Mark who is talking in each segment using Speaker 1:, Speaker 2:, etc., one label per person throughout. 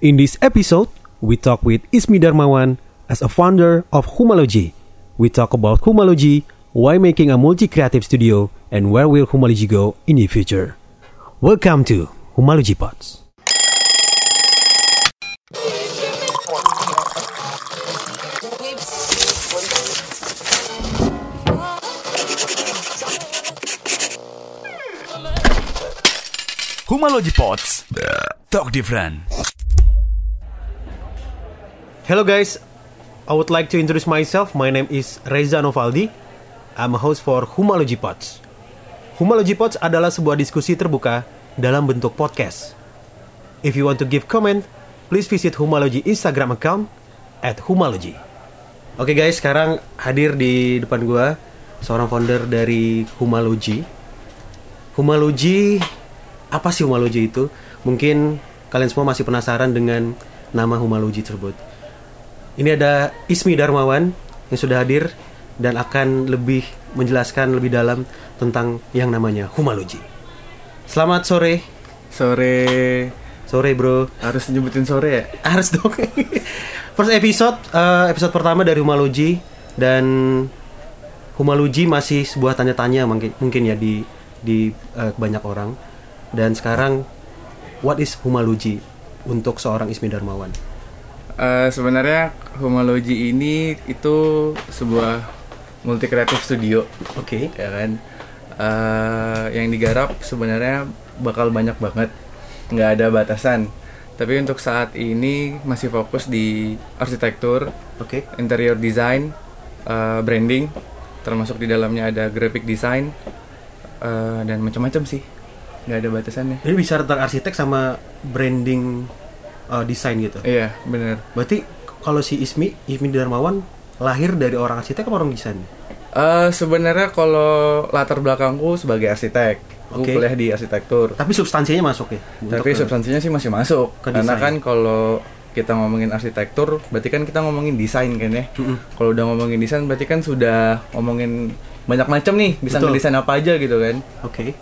Speaker 1: In this episode, we talk with Ismi Darmawan as a founder of Humalogy. We talk about Humalogy, why making a multi-creative studio, and where will Humalogy go in the future. Welcome to Humalogy Pods.
Speaker 2: Humalogy Pods Talk different
Speaker 1: Hello guys, I would like to introduce myself. My name is Reza Novaldi. I'm a host for Humalogy Pods. Humalogy Pods adalah sebuah diskusi terbuka dalam bentuk podcast. If you want to give comment, please visit Humalogy Instagram account at Humalogy. Oke guys, sekarang hadir di depan gua seorang founder dari Humalogy. Humalogy apa sih Humalogy itu? Mungkin kalian semua masih penasaran dengan nama Humalogy tersebut. Ini ada Ismi Darmawan yang sudah hadir dan akan lebih menjelaskan lebih dalam tentang yang namanya Humalogy. Selamat sore,
Speaker 3: Sore
Speaker 1: sore bro.
Speaker 3: harus nyebutin sore ya?
Speaker 1: Harus dong. First episode, eh, episode pertama dari Humalogy dan Humalogy masih sebuah tanya-tanya mungkin, mungkin ya di di eh, banyak orang. Dan sekarang what is Humalogy untuk seorang Ismi Darmawan?
Speaker 3: Eh, sebenarnya Homology ini itu sebuah multi creative studio
Speaker 1: Oke.
Speaker 3: ya kan Eh, yang digarap sebenarnya bakal banyak banget nggak ada batasan tapi untuk saat ini masih fokus di arsitektur
Speaker 1: Oke.
Speaker 3: interior design eh, branding termasuk di dalamnya ada graphic design eh, dan macam-macam sih nggak ada batasannya
Speaker 1: Ini bicara tentang arsitek sama branding eh, desain gitu.
Speaker 3: iya bener
Speaker 1: Berarti kalau si Ismi, Ismi Darmawan lahir dari orang arsitek apa orang desain?
Speaker 3: Eh, sebenarnya kalau latar belakangku sebagai arsitek, aku
Speaker 1: Oke.
Speaker 3: kuliah di arsitektur.
Speaker 1: Tapi substansinya masuk ya. Untuk
Speaker 3: Tapi
Speaker 1: ke-
Speaker 3: substansinya sih masih masuk.
Speaker 1: ke
Speaker 3: Karena
Speaker 1: desain.
Speaker 3: kan kalau kita ngomongin arsitektur, berarti kan kita ngomongin desain kan ya. Kalau udah ngomongin desain, berarti kan sudah ngomongin banyak macam nih, bisa
Speaker 1: Betul.
Speaker 3: ngedesain apa aja gitu kan.
Speaker 1: Oke.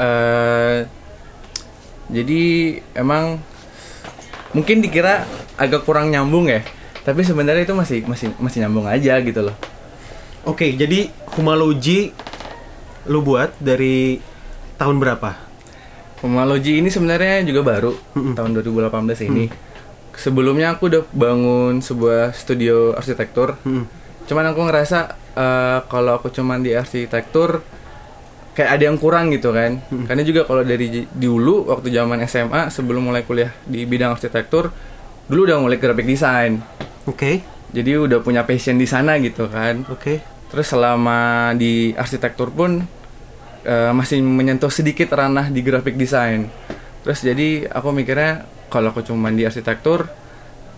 Speaker 3: eh jadi emang mungkin dikira agak kurang nyambung ya, tapi sebenarnya itu masih masih masih nyambung aja gitu loh.
Speaker 1: Oke, jadi Humalogy lu buat dari tahun berapa?
Speaker 3: Homology ini sebenarnya juga baru tahun 2018 ini. Sebelumnya aku udah bangun sebuah studio arsitektur.
Speaker 1: Mm.
Speaker 3: Cuman aku ngerasa eh, kalau aku cuman di arsitektur kayak ada yang kurang gitu kan. Karena juga kalau dari j- dulu waktu zaman SMA sebelum mulai kuliah di bidang arsitektur, dulu udah mulai graphic design.
Speaker 1: Oke.
Speaker 3: Jadi udah punya passion di sana gitu kan.
Speaker 1: Oke.
Speaker 3: Terus selama di arsitektur pun eh, masih menyentuh sedikit ranah di graphic design. Terus jadi aku mikirnya kalau aku cuma di arsitektur,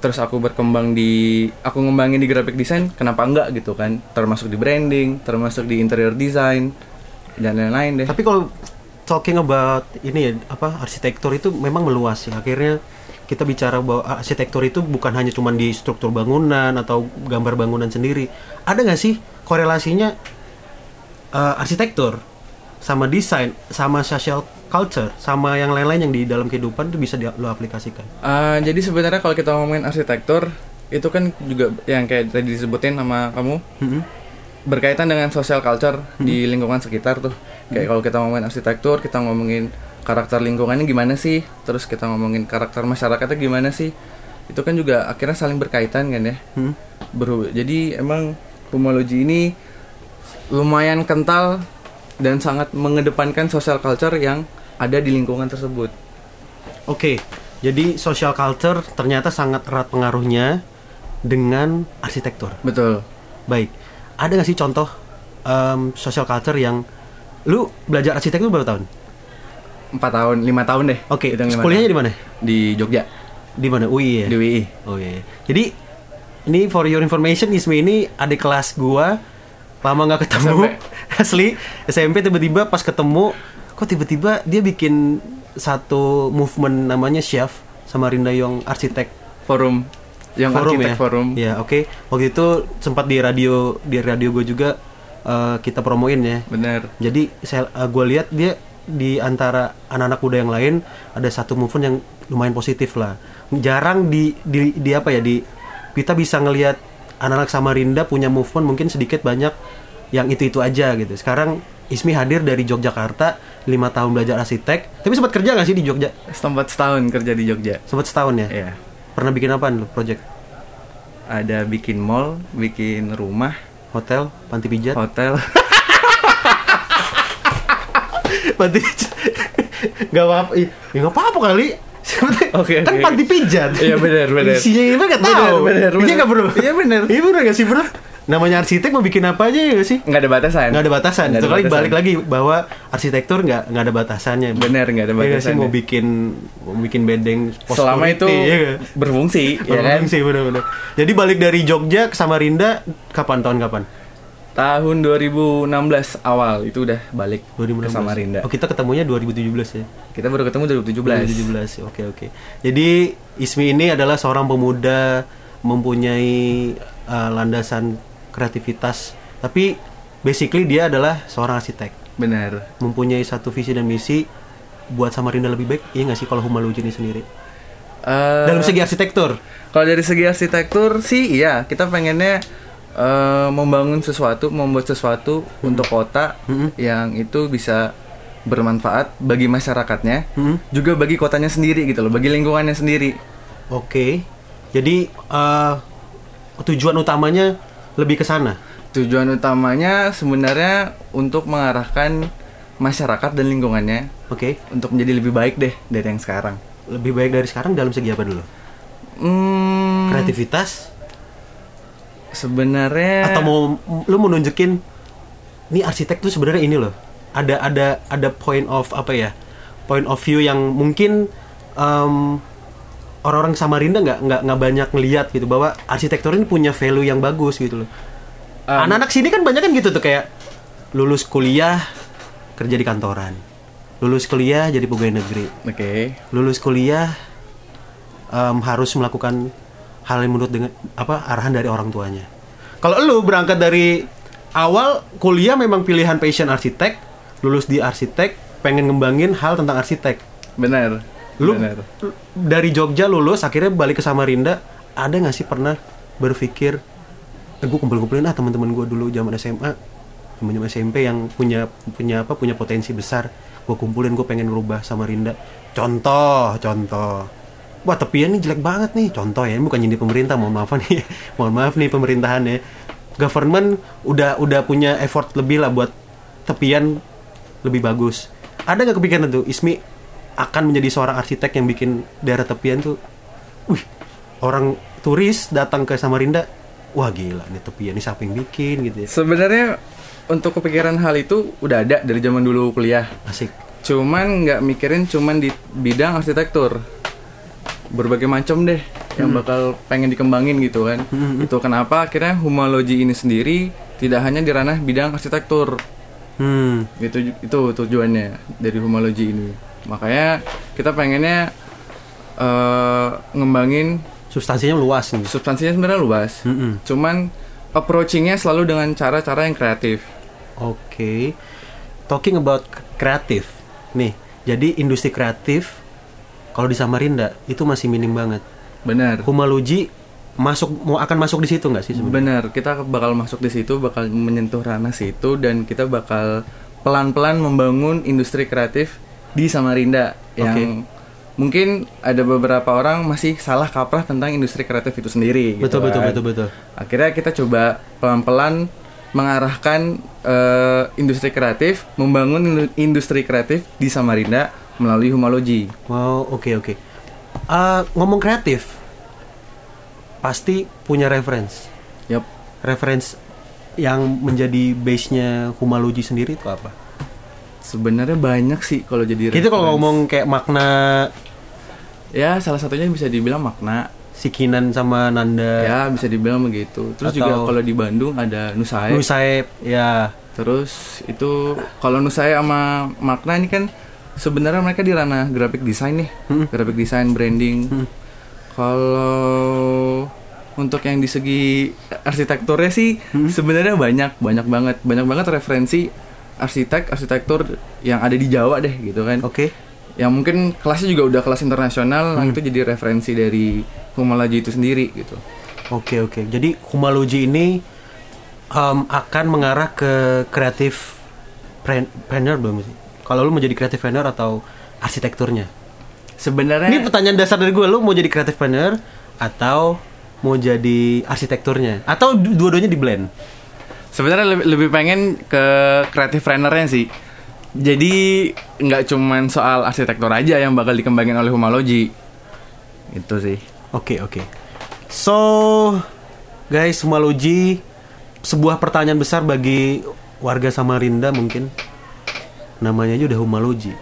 Speaker 3: terus aku berkembang di aku ngembangin di graphic design, kenapa enggak gitu kan? Termasuk di branding, termasuk di interior design dan lain-lain deh.
Speaker 1: Tapi kalau talking about ini ya apa arsitektur itu memang meluas ya. Akhirnya kita bicara bahwa arsitektur itu bukan hanya cuman di struktur bangunan atau gambar bangunan sendiri. Ada nggak sih korelasinya eh, arsitektur sama desain sama social culture sama yang lain-lain yang di dalam kehidupan itu bisa di, lo aplikasikan.
Speaker 3: Eh, jadi sebenarnya kalau kita ngomongin arsitektur itu kan juga yang kayak tadi disebutin sama kamu berkaitan dengan social culture
Speaker 1: Hmm.
Speaker 3: di lingkungan sekitar tuh kayak kalau kita ngomongin arsitektur kita ngomongin karakter lingkungannya gimana sih terus kita ngomongin karakter masyarakatnya gimana sih itu kan juga akhirnya saling berkaitan kan ya
Speaker 1: Hmm.
Speaker 3: Berhu- jadi emang homologi ini lumayan kental dan sangat mengedepankan social culture yang ada di lingkungan tersebut
Speaker 1: Oke, jadi social culture ternyata sangat erat pengaruhnya dengan arsitektur.
Speaker 3: betul
Speaker 1: Baik, ada nggak sih contoh em, social culture yang lu belajar arsitektur berapa tahun?
Speaker 3: empat tahun lima tahun deh
Speaker 1: Oke,
Speaker 3: Hitung lima
Speaker 1: kuliahnya di
Speaker 3: tahun.
Speaker 1: mana?
Speaker 3: di Jogja
Speaker 1: Di mana? UI ya.
Speaker 3: di WI
Speaker 1: Oh iya. iya. Jadi ini for your information Ismi ini adik kelas gua lama nggak ketemu asli SMP tiba-tiba pas ketemu kok tiba-tiba dia bikin satu movement namanya Chef sama Rinda Yong Arsitek
Speaker 3: forum yang
Speaker 1: forum
Speaker 3: arsitek
Speaker 1: ya.
Speaker 3: forum
Speaker 1: Ya, oke. Waktu itu sempat di radio di radio gue juga eh, kita promoin ya.
Speaker 3: bener
Speaker 1: eh, Jadi saya gue lihat dia di antara anak-anak muda yang lain ada satu movement yang lumayan positif lah. Jarang di di, di apa ya di kita bisa ngelihat anak-anak Samarinda punya movement mungkin sedikit banyak yang itu-itu aja gitu. Sekarang Ismi hadir dari Yogyakarta, lima tahun belajar arsitek. Tapi sempat kerja nggak sih di Jogja?
Speaker 3: Sempat setahun kerja di Jogja.
Speaker 1: Sempat setahun ya?
Speaker 3: Iya.
Speaker 1: Pernah bikin apaan lu? Project?
Speaker 3: Ada bikin mall, bikin rumah,
Speaker 1: Hotel? Panti pijat?
Speaker 3: hotel.
Speaker 1: panti pijat? Gak apa-apa. Ih, Ya gak apa-apa kali. Sebetulnya-
Speaker 3: Oke,
Speaker 1: kan
Speaker 3: oke.
Speaker 1: panti pijat.
Speaker 3: Iya, bener, bener.
Speaker 1: Isinya ini gak
Speaker 3: Bener,
Speaker 1: tau.
Speaker 3: bener,
Speaker 1: Iya
Speaker 3: bener.
Speaker 1: gak bro?
Speaker 3: Iya, bener.
Speaker 1: Iya bener gak sih bro? Namanya arsitek mau bikin apa aja ya gak sih?
Speaker 3: Nggak ada batasan.
Speaker 1: Nggak ada batasan.
Speaker 3: Nggak
Speaker 1: Itu
Speaker 3: ada
Speaker 1: kali
Speaker 3: batasan.
Speaker 1: balik lagi bahwa arsitektur nggak nggak ada batasannya.
Speaker 3: Bener, nggak
Speaker 1: Iya
Speaker 3: ada
Speaker 1: nggak sih
Speaker 3: batasannya.
Speaker 1: mau bikin mau bikin bedeng. pos
Speaker 3: Selama
Speaker 1: security,
Speaker 3: itu
Speaker 1: iya nggak?
Speaker 3: berfungsi, ya kan?
Speaker 1: Berfungsi, bener-bener. Jadi balik dari Jogja ke Samarinda kapan tahun kapan?
Speaker 3: Tahun 2016 awal itu udah balik
Speaker 1: 2016.
Speaker 3: ke Samarinda.
Speaker 1: Oh kita ketemunya 2017 ya.
Speaker 3: Kita baru ketemu 2017.
Speaker 1: 2017. ya, Oke oke. Jadi Ismi ini adalah seorang pemuda mempunyai uh, landasan kreativitas, tapi basically dia adalah seorang arsitek.
Speaker 3: Bener.
Speaker 1: mempunyai satu visi dan misi buat Samarinda lebih baik, iya nggak sih kalau Humaluji ini sendiri?
Speaker 3: Eh,
Speaker 1: Dalam segi arsitektur,
Speaker 3: Kalau dari segi arsitektur sih iya, kita pengennya eh, membangun sesuatu, membuat sesuatu untuk kota yang itu bisa bermanfaat bagi masyarakatnya, juga bagi kotanya sendiri gitu loh, bagi lingkungannya sendiri.
Speaker 1: oke. Jadi eh, tujuan utamanya lebih ke sana.
Speaker 3: Tujuan utamanya sebenarnya untuk mengarahkan masyarakat dan lingkungannya
Speaker 1: Oke,
Speaker 3: untuk menjadi lebih baik deh dari yang sekarang.
Speaker 1: lebih baik dari sekarang dalam segi apa dulu?
Speaker 3: Hmm,
Speaker 1: Kreativitas
Speaker 3: sebenarnya Iya.
Speaker 1: atau mau lu mau nunjukin ini arsitek tuh sebenarnya ini loh. Ada ada ada point of apa ya? Point of view yang mungkin em, orang-orang Samarinda nggak nggak nggak banyak ngelihat gitu bahwa arsitektur ini punya value yang bagus gitu loh.
Speaker 3: Um,
Speaker 1: Anak-anak sini kan banyak kan gitu tuh kayak lulus kuliah kerja di kantoran, lulus kuliah jadi pegawai negeri,
Speaker 3: Oke.
Speaker 1: lulus kuliah em, harus melakukan hal yang menurut dengan apa arahan dari orang tuanya. Kalau lu berangkat dari awal kuliah memang pilihan passion arsitek, lulus di arsitek, pengen ngembangin hal tentang arsitek.
Speaker 3: Benar.
Speaker 1: Lu
Speaker 3: benar.
Speaker 1: lu- dari Jogja lulus akhirnya balik ke Samarinda, ada nggak sih pernah berpikir eh, gue kumpul-kumpulin ah teman-teman gue dulu zaman SMA, teman-teman SMP yang punya punya apa punya potensi besar, gue kumpulin gue pengen ngerubah Samarinda. Contoh, contoh. Wah tepian nih jelek banget nih contoh ya ini bukan nyindir pemerintah mohon maaf nih mohon maaf nih pemerintahan ya government udah udah punya effort lebih lah buat tepian lebih bagus ada nggak kepikiran tuh Ismi akan menjadi seorang arsitek yang bikin daerah tepian tuh wih orang turis datang ke Samarinda wah gila nih tepian ini siapa yang bikin gitu ya
Speaker 3: Sebenarnya untuk kepikiran hal itu udah ada dari zaman dulu kuliah.
Speaker 1: asik
Speaker 3: Cuman nggak mikirin cuman di bidang arsitektur. Berbagai macam deh yang bakal pengen dikembangin gitu kan. Itu kenapa akhirnya humologi ini sendiri tidak hanya di ranah bidang arsitektur.
Speaker 1: hmm
Speaker 3: Itu itu tujuannya dari humologi ini. Makanya kita pengennya eh, ngembangin
Speaker 1: substansinya luas nih
Speaker 3: substansinya sebenarnya luas.
Speaker 1: Mm-mm.
Speaker 3: Cuman approachingnya selalu dengan cara-cara yang kreatif.
Speaker 1: Oke. Talking about kreatif. Nih, jadi industri kreatif kalau di Samarinda itu masih minim banget.
Speaker 3: Benar.
Speaker 1: Humaluji masuk mau akan masuk di situ nggak sih sebenarnya?
Speaker 3: Benar, kita bakal masuk di situ, bakal menyentuh ranah situ dan kita bakal pelan-pelan membangun industri kreatif di Samarinda yang mungkin ada beberapa orang masih salah kaprah tentang industri kreatif itu sendiri. gitu
Speaker 1: Betul, betul,
Speaker 3: kan.
Speaker 1: betul, betul.
Speaker 3: Akhirnya kita coba pelan-pelan mengarahkan eh, industri kreatif, membangun indu- industri kreatif di Samarinda melalui humologi.
Speaker 1: Wow, oke oke. Ah, ngomong kreatif pasti punya reference.
Speaker 3: Yap.
Speaker 1: Reference yang menjadi base-nya Humaluji sendiri itu apa?
Speaker 3: Sebenarnya banyak sih kalau jadi
Speaker 1: Kita
Speaker 3: referensi.
Speaker 1: kalau ngomong kayak makna
Speaker 3: ya salah satunya bisa dibilang makna
Speaker 1: Sikinan sama Nanda
Speaker 3: ya bisa dibilang begitu terus
Speaker 1: Atau-
Speaker 3: juga kalau di Bandung ada Nusae
Speaker 1: Nusaib ya
Speaker 3: terus itu kalau Nusae sama Makna ini kan sebenarnya mereka di ranah graphic design nih graphic design branding kalau untuk yang di segi arsitekturnya sih sebenarnya banyak banyak banget banyak banget referensi arsitek arsitektur yang ada di Jawa deh gitu kan
Speaker 1: Oke.
Speaker 3: yang mungkin kelasnya juga udah kelas internasional nah itu jadi referensi dari Kumalaji itu sendiri gitu
Speaker 1: Oke oke. Jadi Humalogy ini em, akan mengarah ke kreatif pren- planner belum sih? Kalau lu mau jadi kreatif planner atau arsitekturnya?
Speaker 3: sebenarnya
Speaker 1: Ini pertanyaan dasar dari gue. Lu mau jadi kreatif planner atau mau jadi arsitekturnya? Atau du- dua-duanya di blend?
Speaker 3: Sebenarnya lebih, lebih pengen ke kreatif trainernya sih. Jadi nggak cuman soal arsitektur aja yang bakal dikembangin oleh Humalogy. Itu sih.
Speaker 1: Oke oke. So guys, Humalogy sebuah pertanyaan besar bagi warga Samarinda mungkin. Namanya aja udah Humalogy.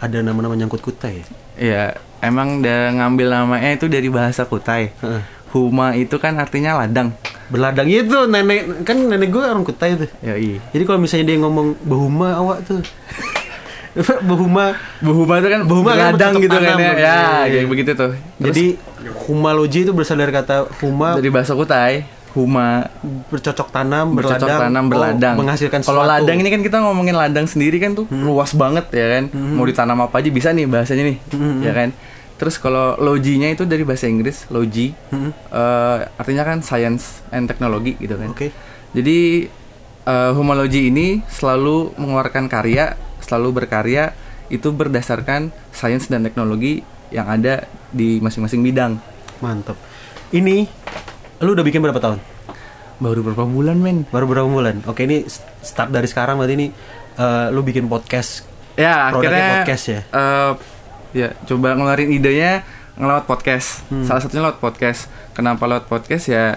Speaker 1: Ada nama-nama nyangkut kutai. Ya?
Speaker 3: Iya, emang udah ngambil namanya itu dari bahasa Kutai.
Speaker 1: Heeh.
Speaker 3: Huma itu kan artinya ladang.
Speaker 1: Berladang itu nenek kan nenek gue orang Kutai tuh.
Speaker 3: Yoi.
Speaker 1: Jadi kalau misalnya dia ngomong behuma awak tuh. behuma
Speaker 3: Buhuma itu kan
Speaker 1: Buhuma kan
Speaker 3: ladang
Speaker 1: bercocok
Speaker 3: gitu kan ya.
Speaker 1: tanam.
Speaker 3: Ya,
Speaker 1: Iya.
Speaker 3: kayak begitu tuh. Jadi
Speaker 1: jadi humalogy itu berasal dari kata huma
Speaker 3: dari bahasa Kutai, Huma
Speaker 1: bercocok tanam,
Speaker 3: bercocok
Speaker 1: berladang,
Speaker 3: tanam
Speaker 1: oh,
Speaker 3: berladang
Speaker 1: menghasilkan
Speaker 3: kalau
Speaker 1: sesuatu. Hmm.
Speaker 3: ladang ini kan kita ngomongin ladang sendiri kan tuh luas banget ya kan mau ditanam apa aja bisa nih bahasanya nih
Speaker 1: Hmm.
Speaker 3: ya kan terus kalau loginya itu dari bahasa Inggris logi
Speaker 1: Hmm.
Speaker 3: eh, artinya kan science and technology gitu kan
Speaker 1: Oke.
Speaker 3: jadi eh, humology ini selalu mengeluarkan karya selalu berkarya itu berdasarkan sains dan teknologi yang ada di masing-masing bidang
Speaker 1: mantap. Ini lu udah bikin berapa tahun?
Speaker 3: baru beberapa bulan men
Speaker 1: Baru berapa bulan? Oke, ini s- start dari sekarang berarti ini eh, lu bikin podcast.
Speaker 3: ya
Speaker 1: Produknya
Speaker 3: akhirnya
Speaker 1: podcast ya?
Speaker 3: eh, ya coba ngeluarin idenya ngelewat podcast
Speaker 1: Hmm.
Speaker 3: salah satunya lewat podcast kenapa lewat podcast ya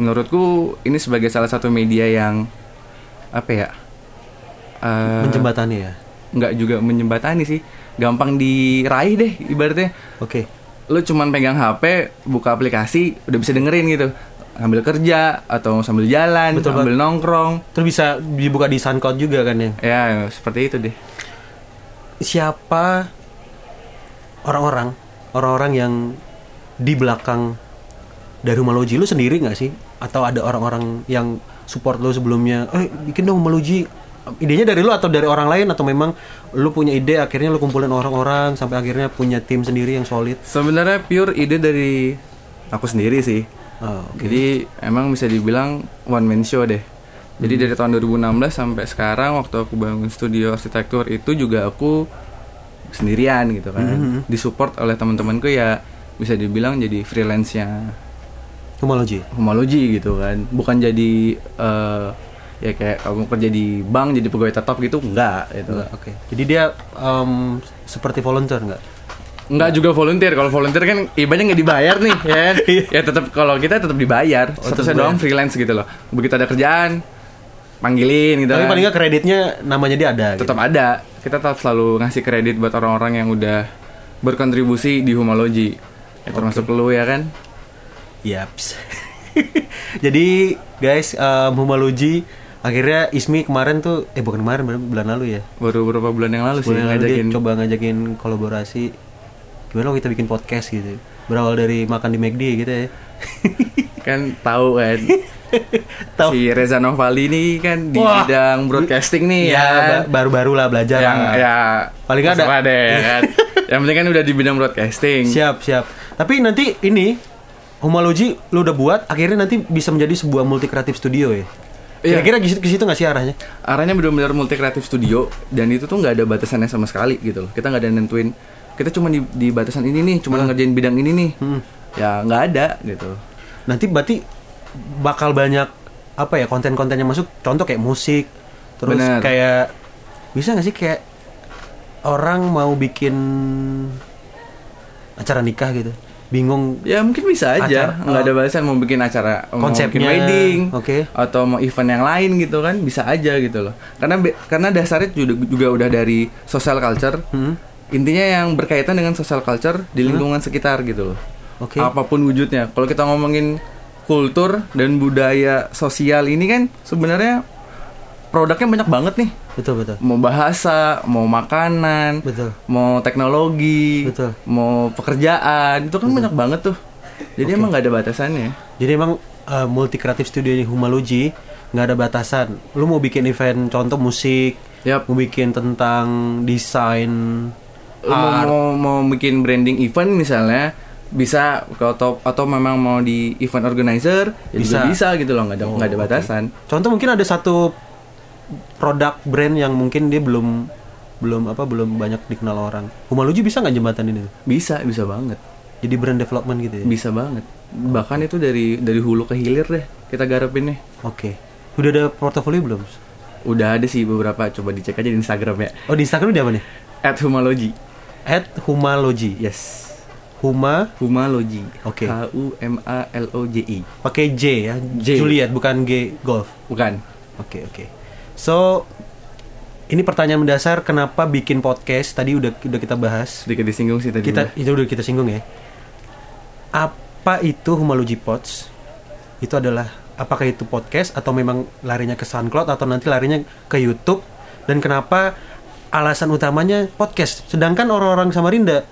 Speaker 3: menurutku ini sebagai salah satu media yang apa ya eh,
Speaker 1: Menjembatani ya.
Speaker 3: nggak juga menjembatani sih gampang diraih deh ibaratnya
Speaker 1: Oke.
Speaker 3: lu cuman pegang HP buka aplikasi udah bisa dengerin gitu ngambil kerja atau sambil jalan
Speaker 1: Betul
Speaker 3: sambil nongkrong
Speaker 1: Terus bisa dibuka di SoundCloud juga kan ya.
Speaker 3: ya seperti itu deh
Speaker 1: siapa orang-orang orang-orang yang di belakang dari Humalogy lu sendiri nggak sih atau ada orang-orang yang support lu sebelumnya eh bikin dong Humalogy idenya dari lu atau dari orang lain atau memang lu punya ide akhirnya lu kumpulin orang-orang sampai akhirnya punya tim sendiri yang solid
Speaker 3: Sebenarnya pure ide dari aku sendiri sih.
Speaker 1: Oh,
Speaker 3: Jadi emang bisa dibilang one man show deh. Jadi dari tahun 2016 sampai sekarang waktu aku bangun studio arsitektur itu juga aku sendirian gitu kan. Disupport oleh teman-temanku ya bisa dibilang jadi freelance-nya
Speaker 1: Humalogy
Speaker 3: homologi gitu kan. Bukan jadi eh, ya kayak kamu kerja di bank jadi pegawai tetap gitu enggak gitu.
Speaker 1: oke jadi dia em, seperti volunteer nggak
Speaker 3: Enggak juga volunteer. Kalau volunteer kan ibaratnya nggak dibayar nih, ya. kan?
Speaker 1: Iya.
Speaker 3: ya tetap kalau kita tetap dibayar.
Speaker 1: Oh,
Speaker 3: Statusnya doang freelance gitu loh. Begitu ada kerjaan, panggilin gitu.
Speaker 1: tapi
Speaker 3: kan.
Speaker 1: paling nggak kreditnya namanya dia ada gitu.
Speaker 3: tetap ada. Kita tetap selalu ngasih kredit buat orang-orang yang udah berkontribusi di Humalogy. Ya, termasuk lu ya kan?
Speaker 1: Yaps. Jadi guys, um, Humalogy akhirnya Ismi kemarin tuh eh bukan kemarin bulan- bulan lalu ya.
Speaker 3: Baru beberapa bulan yang lalu sih
Speaker 1: Bulan lalu dia
Speaker 3: ngajakin.
Speaker 1: coba ngajakin kolaborasi gimana kalau kita bikin podcast gitu. Berawal dari makan di McD gitu ya.
Speaker 3: Kan tahu kan.
Speaker 1: Tahu.
Speaker 3: Si Reza Novali ini kan di
Speaker 1: Wah.
Speaker 3: bidang broadcasting nih
Speaker 1: ya,
Speaker 3: ya. kan?
Speaker 1: ba- baru-baru lah belajar.
Speaker 3: yang
Speaker 1: lah.
Speaker 3: ya
Speaker 1: Paling nggak ada.
Speaker 3: terserah deh, ya kan? yang penting kan udah di bidang broadcasting.
Speaker 1: Siap, siap. Tapi nanti ini Humalogy lu udah buat akhirnya nanti bisa menjadi sebuah multi kreatif studio ya.
Speaker 3: Iya.
Speaker 1: Kira-kira ke situ- ke situ nggak sih arahnya?
Speaker 3: arahnya benar-benar multi kreatif studio dan itu tuh nggak ada batasannya sama sekali gitu loh kita nggak ada nentuin kita cuma di, di batasan ini nih cuma ngerjain bidang ini nih
Speaker 1: Hmm.
Speaker 3: ya nggak ada gitu
Speaker 1: nanti berarti bakal banyak apa ya konten-konten yang masuk contoh kayak musik terus
Speaker 3: Bener.
Speaker 1: kayak bisa nggak sih kayak orang mau bikin acara nikah gitu bingung
Speaker 3: ya mungkin bisa
Speaker 1: Acara, Oh.
Speaker 3: aja nggak ada batasan mau bikin acara mau bikin
Speaker 1: Konsepnya,
Speaker 3: wedding
Speaker 1: oke.
Speaker 3: atau mau event yang lain gitu kan bisa aja gitu loh karena be- karena dasarnya juga, juga udah dari social culture
Speaker 1: Hmm.
Speaker 3: intinya yang berkaitan dengan social culture di lingkungan sekitar gitu loh
Speaker 1: Oke.
Speaker 3: apapun wujudnya kalau kita ngomongin kultur dan budaya sosial ini kan sebenarnya produknya banyak banget nih
Speaker 1: betul betul
Speaker 3: mau bahasa, mau makanan,
Speaker 1: Betul.
Speaker 3: mau teknologi,
Speaker 1: Betul.
Speaker 3: mau pekerjaan, itu kan banyak banget tuh. Jadi emang nggak ada batasannya.
Speaker 1: jadi emang uh, multi kreatif studio ini Humalogy nggak ada batasan lu mau bikin event contoh musik
Speaker 3: Yap.
Speaker 1: mau bikin tentang desain
Speaker 3: lu mau, mau bikin branding event misalnya bisa atau atau memang mau di event organizer ya bisa
Speaker 1: Bisa. Oh,
Speaker 3: bisa gitu loh nggak ada nggak ada batasan
Speaker 1: Contoh mungkin ada satu produk brand yang mungkin dia belum belum apa belum banyak dikenal orang. Humaluju bisa nggak jembatan ini?
Speaker 3: bisa bisa banget
Speaker 1: Jadi brand development gitu ya.
Speaker 3: bisa banget bahkan itu dari dari hulu ke hilir deh kita garapin nih
Speaker 1: Oke. Udah ada portofolio belum?
Speaker 3: udah ada sih beberapa coba dicek aja di Instagram ya
Speaker 1: Oh di Instagram udah apa nih?
Speaker 3: at humalogy
Speaker 1: At Humalogy.
Speaker 3: yes
Speaker 1: Huma
Speaker 3: humalogy
Speaker 1: Oke.
Speaker 3: h u m a l o j i
Speaker 1: pakai J ya.
Speaker 3: J.
Speaker 1: Juliet bukan G Golf.
Speaker 3: bukan
Speaker 1: Oke oke. So ini pertanyaan mendasar kenapa bikin podcast tadi udah udah kita bahas.
Speaker 3: sedikit disinggung sih tadi
Speaker 1: Kita
Speaker 3: udah.
Speaker 1: itu udah kita singgung ya. Apa itu Humaluji Pods? Itu adalah apakah itu podcast atau memang larinya ke SoundCloud atau nanti larinya ke YouTube dan kenapa alasan utamanya podcast? Sedangkan orang-orang Samarinda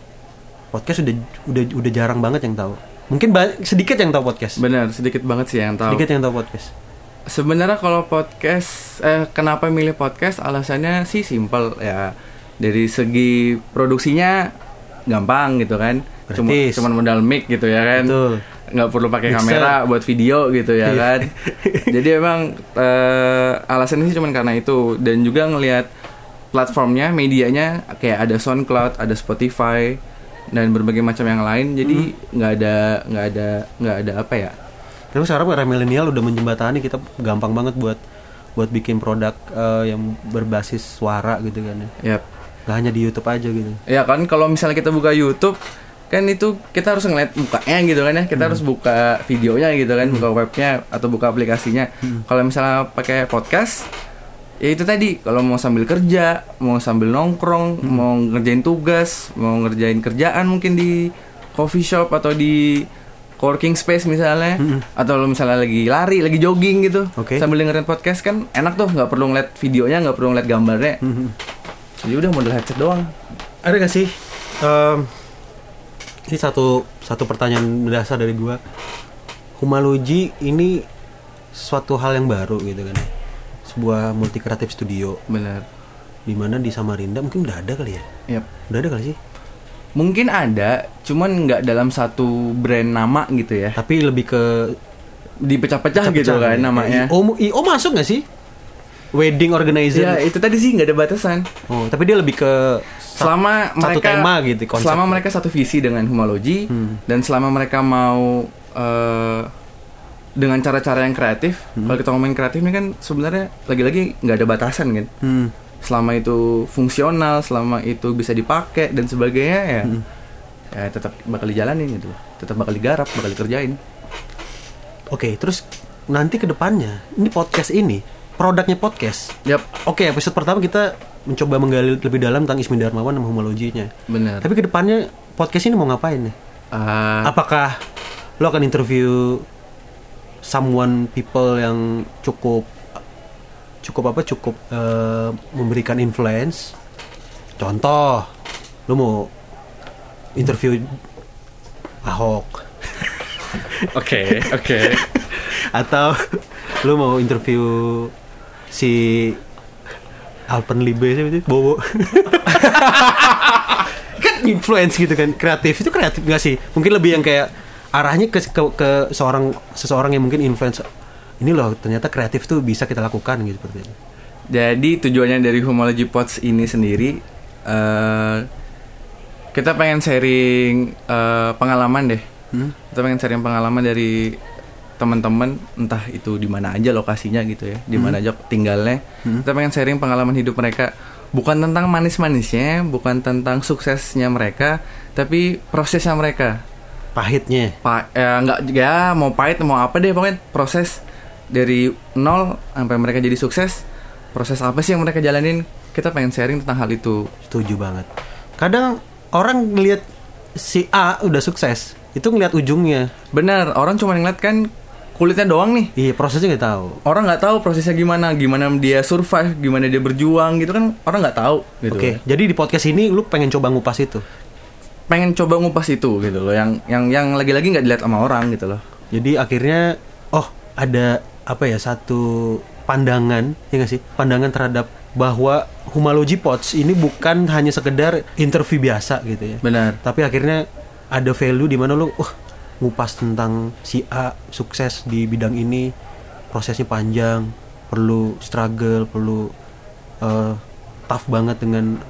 Speaker 1: podcast udah udah udah jarang banget yang tahu. Mungkin ba- sedikit yang tahu podcast.
Speaker 3: benar sedikit banget sih yang tahu
Speaker 1: Sedikit yang tahu podcast.
Speaker 3: Sebenarnya kalau podcast, eh, kenapa milih podcast? Alasannya sih simple ya. Dari segi produksinya gampang gitu kan. Cuma,
Speaker 1: Gratis.
Speaker 3: cuman modal mic gitu ya kan.
Speaker 1: Betul.
Speaker 3: Nggak perlu pakai
Speaker 1: Mixer.
Speaker 3: kamera buat video gitu ya
Speaker 1: Iya.
Speaker 3: kan. Jadi emang eh, alasannya sih cuman karena itu dan juga ngelihat platformnya, medianya kayak ada SoundCloud, ada Spotify dan berbagai macam yang lain. Jadi
Speaker 1: Hmm.
Speaker 3: nggak ada nggak ada nggak ada apa ya?
Speaker 1: Terus sekarang era milenial udah menjembatani kita gampang banget buat buat bikin produk eh, yang berbasis suara gitu kan ya.
Speaker 3: Yap.
Speaker 1: Gak hanya di YouTube aja gitu.
Speaker 3: Ya kan kalau misalnya kita buka YouTube kan itu kita harus ngeliat mukanya gitu kan ya kita harus buka videonya gitu kan buka webnya atau buka aplikasinya kalau misalnya pakai podcast ya itu tadi kalau mau sambil kerja mau sambil nongkrong mau ngerjain tugas mau ngerjain kerjaan mungkin di coffee shop atau di co-working space misalnya atau lo misalnya lagi lari lagi jogging gitu
Speaker 1: Oke.
Speaker 3: sambil dengerin podcast kan enak tuh nggak perlu ngeliat videonya nggak perlu ngeliat gambarnya
Speaker 1: Hmm.
Speaker 3: jadi udah modal headset doang
Speaker 1: Ada gak sih? em, ini satu satu pertanyaan mendasar dari gua. Humalogy ini suatu hal yang baru gitu kan. Sebuah multi kreatif studio
Speaker 3: Bener.
Speaker 1: di mana di Samarinda mungkin udah ada kali ya.
Speaker 3: Yap.
Speaker 1: Udah ada kali sih.
Speaker 3: Mungkin ada, cuman nggak dalam satu brand nama gitu ya.
Speaker 1: Tapi lebih ke
Speaker 3: Dipecah-pecah gitu kan
Speaker 1: ya.
Speaker 3: namanya.
Speaker 1: IO, IO masuk gak sih? Wedding organizer.
Speaker 3: Ya itu tadi sih nggak ada batasan.
Speaker 1: Oh, tapi dia lebih ke
Speaker 3: Selama
Speaker 1: satu
Speaker 3: mereka
Speaker 1: tema gitu konsep. Hmm.
Speaker 3: selama mereka satu visi dengan humology dan selama mereka mau eh, dengan cara-cara yang kreatif.
Speaker 1: Hmm.
Speaker 3: Kalau kita ngomongin kreatif ini kan sebenarnya lagi-lagi nggak ada batasan kan.
Speaker 1: Hmm.
Speaker 3: Selama itu fungsional, selama itu bisa dipakai dan sebagainya ya.
Speaker 1: Hmm.
Speaker 3: Ya tetap bakal dijalanin gitu. Tetap bakal digarap, bakal dikerjain.
Speaker 1: Oke, terus nanti ke depannya, ini podcast ini produknya podcast.
Speaker 3: Yap,
Speaker 1: Oke, episode pertama kita mencoba menggali lebih dalam tentang Ismi Darmawan dan homologinya.
Speaker 3: benar.
Speaker 1: Tapi ke depannya podcast ini mau ngapain nih?
Speaker 3: Ah,
Speaker 1: Apakah lo akan interview someone people yang cukup cukup apa cukup eh, memberikan influence? Contoh, lo mau interview Ahok
Speaker 3: Oke, oke.
Speaker 1: atau lu mau interview si Alpenlibe siapa itu Bobo kan influence gitu kan kreatif itu kreatif gak sih mungkin lebih yang kayak arahnya ke ke, ke seorang seseorang yang mungkin influence ini loh ternyata kreatif tuh bisa kita lakukan gitu seperti itu
Speaker 3: Jadi tujuannya dari Homology Pods ini sendiri eh kita pengen sharing eh, pengalaman deh. Kita pengen sharing pengalaman dari teman-teman entah itu di mana aja lokasinya gitu ya, di mana aja tinggalnya. Kita pengen sharing pengalaman hidup mereka bukan tentang manis-manisnya, bukan tentang suksesnya mereka, tapi prosesnya mereka.
Speaker 1: pahitnya
Speaker 3: pa eh, nggak ya mau pahit mau apa deh pokoknya proses dari nol sampai mereka jadi sukses proses apa sih yang mereka jalanin kita pengen sharing tentang hal itu
Speaker 1: setuju banget kadang orang ngelihat si A udah sukses itu ngelihat ujungnya
Speaker 3: benar orang cuma ngeliat kan kulitnya doang nih
Speaker 1: iya prosesnya nggak tahu
Speaker 3: orang nggak tahu prosesnya gimana gimana dia survive gimana dia berjuang gitu kan orang nggak tahu gitu
Speaker 1: Oke, jadi di podcast ini lu pengen coba ngupas itu.
Speaker 3: pengen coba ngupas itu gitu loh yang yang yang lagi-lagi nggak dilihat sama orang gitu loh
Speaker 1: Jadi akhirnya oh ada apa ya satu pandangan ya nggak sih pandangan terhadap bahwa Humalogy Pods ini bukan hanya sekedar interview biasa gitu ya.
Speaker 3: Benar.
Speaker 1: Tapi akhirnya ada value di mana lo uh, ngupas tentang si A sukses di bidang ini, prosesnya panjang, perlu struggle, perlu eh, tough banget dengan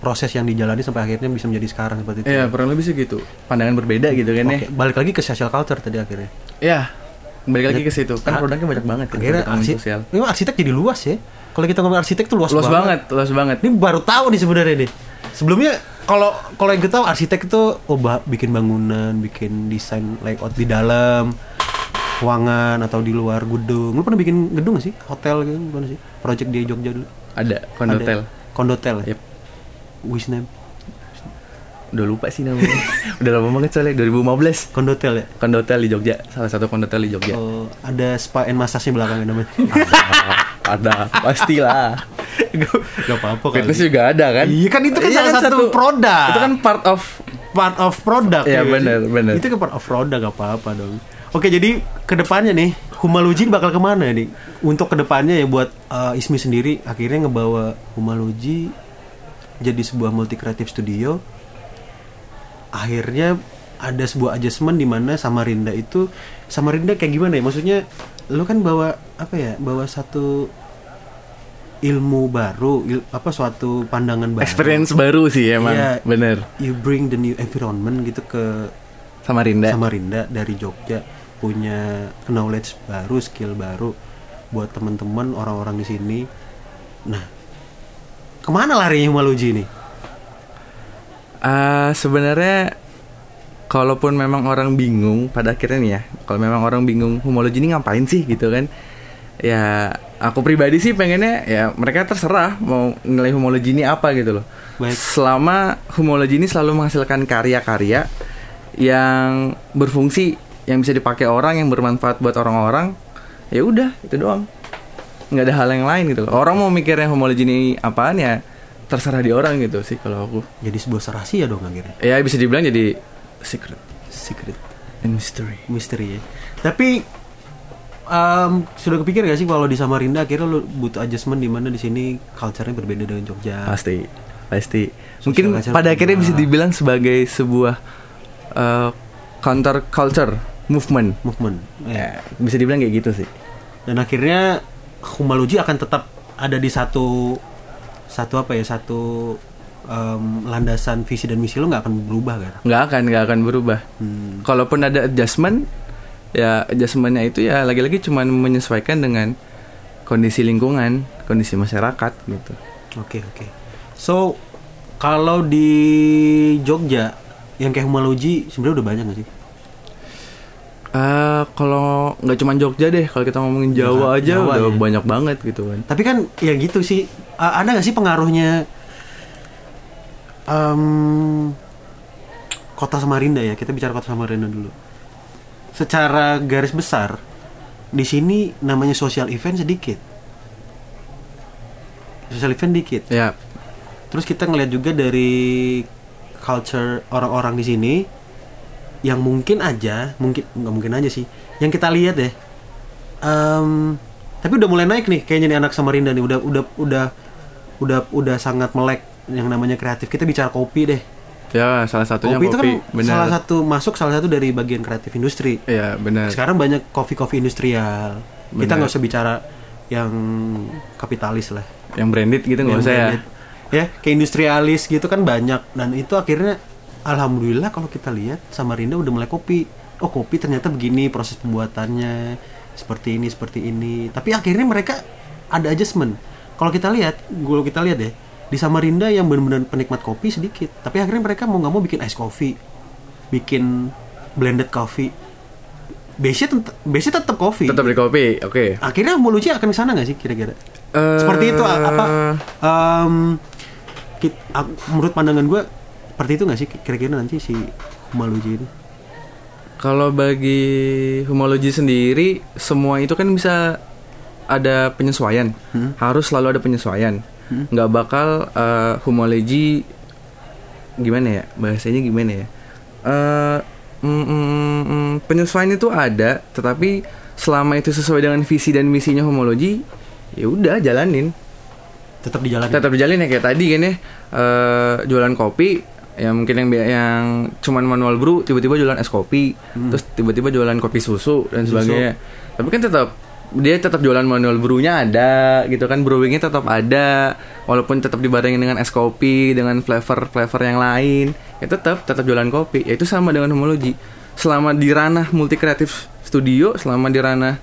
Speaker 1: proses yang dijalani sampai akhirnya bisa menjadi sekarang seperti itu.
Speaker 3: Iya, kurang lebih sih gitu. Pandangan berbeda gitu kan
Speaker 1: Oke, balik lagi ke social culture tadi akhirnya.
Speaker 3: ya. Ya. Balik lagi ke situ. Kan produknya banyak banget kan
Speaker 1: Akhirnya
Speaker 3: teman-teman
Speaker 1: arsi-
Speaker 3: sosial.
Speaker 1: memang arsitek jadi luas ya. Kalau kita ngomong arsitek tuh luas,
Speaker 3: Luas
Speaker 1: banget.
Speaker 3: banget, luas banget.
Speaker 1: Ini baru tahu nih sebenarnya nih. Sebelumnya kalau kalau yang gue tahu arsitek itu oh bah- bikin bangunan, bikin desain layout di dalam ruangan atau di luar gedung. Lu pernah bikin gedung gak sih? Hotel gitu pernah sih? Project di Jogja dulu.
Speaker 3: Ada kondotel.
Speaker 1: Ada. ya? Kondotel. ya?
Speaker 3: Yep.
Speaker 1: Wisname.
Speaker 3: Udah lupa sih namanya. Udah lama banget soalnya 2015.
Speaker 1: Kondotel ya.
Speaker 3: Kondotel di Jogja, salah satu kondotel di Jogja.
Speaker 1: Oh, ada spa and massage-nya belakangnya namanya.
Speaker 3: Ada, pastilah.
Speaker 1: Gak apa-apa kali.
Speaker 3: Fitness juga ada kan?
Speaker 1: Iya kan itu kan salah satu produk.
Speaker 3: Itu kan part of
Speaker 1: part of product
Speaker 3: Iya,
Speaker 1: nggak
Speaker 3: bener,
Speaker 1: sih?
Speaker 3: bener.
Speaker 1: itu kan part of product gak apa-apa dong oke jadi kedepannya nih Humaluji bakal kemana nih untuk kedepannya ya buat uh, Ismi sendiri akhirnya ngebawa Humaluji jadi sebuah multi creative studio akhirnya ada sebuah adjustment di mana Samarinda itu Samarinda kayak gimana ya maksudnya lu kan bawa apa ya bawa satu ilmu baru il- apa suatu pandangan baru
Speaker 3: experience baru sih emang.
Speaker 1: Iya.
Speaker 3: Bener.
Speaker 1: you bring the new environment gitu ke
Speaker 3: Sama Rinda.
Speaker 1: Samarinda dari Jogja punya knowledge baru, skill baru buat teman-teman orang-orang di sini. Nah, kemana larinya Maluji ini?
Speaker 3: Ah, sebenarnya kalaupun memang orang bingung pada akhirnya nih ya, kalau memang orang bingung homologi ini ngapain sih gitu kan? Ya, aku pribadi sih pengennya ya mereka terserah mau nilai homologi ini apa gitu loh.
Speaker 1: Baik.
Speaker 3: Selama homologi ini selalu menghasilkan karya-karya yang berfungsi, yang bisa dipakai orang, yang bermanfaat buat orang-orang, ya udah itu doang. Nggak ada hal yang lain gitu loh. Orang mau mikirnya homologi ini apaan ya terserah di orang gitu sih kalau aku.
Speaker 1: Jadi sebuah rahasia dong akhirnya.
Speaker 3: Ya bisa dibilang jadi secret
Speaker 1: Secret
Speaker 3: and mystery.
Speaker 1: misteri ya. Tapi em, sudah kepikir gak sih kalau di Samarinda akhirnya lu butuh adjustment di mana di sini culture-nya berbeda dengan Jogja.
Speaker 3: Pasti, pasti.
Speaker 1: Social
Speaker 3: Mungkin
Speaker 1: culture
Speaker 3: pada akhirnya
Speaker 1: berubah.
Speaker 3: bisa dibilang sebagai sebuah eh, counter culture movement.
Speaker 1: Movement. Eh,
Speaker 3: Ya, bisa dibilang kayak gitu sih.
Speaker 1: dan akhirnya Humaluji akan tetap ada di satu satu apa ya satu em, landasan visi dan misi lo nggak akan berubah kan
Speaker 3: Nggak akan, nggak akan berubah.
Speaker 1: Hmm.
Speaker 3: Kalaupun ada adjustment, ya adjustmentnya itu ya lagi-lagi cuman menyesuaikan dengan kondisi lingkungan, kondisi masyarakat gitu.
Speaker 1: oke oke so kalau di Jogja yang kayak Humaluji sebenarnya udah banyak gak sih
Speaker 3: Eh, kalau nggak cuman Jogja deh, kalau kita ngomongin Jawa aja
Speaker 1: Jawa ya.
Speaker 3: udah banyak banget gitu kan.
Speaker 1: tapi kan ya gitu sih A- ada nggak sih pengaruhnya em, kota Samarinda ya kita bicara kota Samarinda dulu secara garis besar di sini namanya social event sedikit social event dikit
Speaker 3: Ya,
Speaker 1: terus kita ngeliat juga dari culture orang-orang di sini yang mungkin aja mungkin nggak mungkin aja sih yang kita lihat ya em, tapi udah mulai naik nih kayaknya nih anak Samarinda nih udah udah udah udah udah sangat melek yang namanya kreatif kita bicara kopi deh
Speaker 3: Ya, salah satunya
Speaker 1: kopi
Speaker 3: kopi.
Speaker 1: itu kan
Speaker 3: benar.
Speaker 1: salah satu masuk salah satu dari bagian kreatif industri
Speaker 3: Iya, benar.
Speaker 1: sekarang banyak kopi-kopi industrial kita
Speaker 3: Bener.
Speaker 1: nggak usah bicara yang kapitalis lah
Speaker 3: Yang branded gitu nggak
Speaker 1: Yang
Speaker 3: usah ya.
Speaker 1: branded. Ya, kayak industrialis gitu kan banyak dan itu akhirnya alhamdulillah kalau kita lihat Samarinda udah mulai kopi. Oh, kopi ternyata begini proses pembuatannya seperti ini, seperti ini. Tapi akhirnya mereka ada adjustment. Kalau kita lihat, kalau kita lihat ya, di Samarinda yang benar-benar penikmat kopi sedikit, tapi akhirnya mereka mau nggak mau bikin ice coffee, bikin blended coffee. Base-nya tet- base-nya tetap kopi.
Speaker 3: Tetap di kopi. Oke.
Speaker 1: Akhirnya Muluji akan ke sana nggak sih kira-kira?
Speaker 3: Eh,
Speaker 1: seperti itu a- apa em, kit- a- menurut pandangan gue seperti itu nggak sih kira-kira nanti si Maluji ini
Speaker 3: Kalau bagi homologi sendiri, semua itu kan bisa ada penyesuaian.
Speaker 1: Hmm.
Speaker 3: Harus selalu ada penyesuaian. Nggak bakal eh, homologi gimana ya? Bahasanya gimana ya? Eh, mm, mm, mm, penyesuaian itu ada, tetapi selama itu sesuai dengan visi dan misinya homologi, ya udah jalanin.
Speaker 1: tetap dijalani.
Speaker 3: tetap dijalin ya kayak tadi gini eh, jualan kopi ya mungkin yang bi- yang cuman manual brew tiba-tiba jualan es kopi terus tiba-tiba jualan Hmm. kopi susu dan sebagainya tapi kan tetap dia tetap jualan manual brewnya ada gitu kan brewingnya tetap ada walaupun tetap dibarengin dengan es kopi dengan flavor flavor yang lain ya tetap tetap jualan kopi ya itu sama dengan homologi selama di ranah multi kreatif studio selama di ranah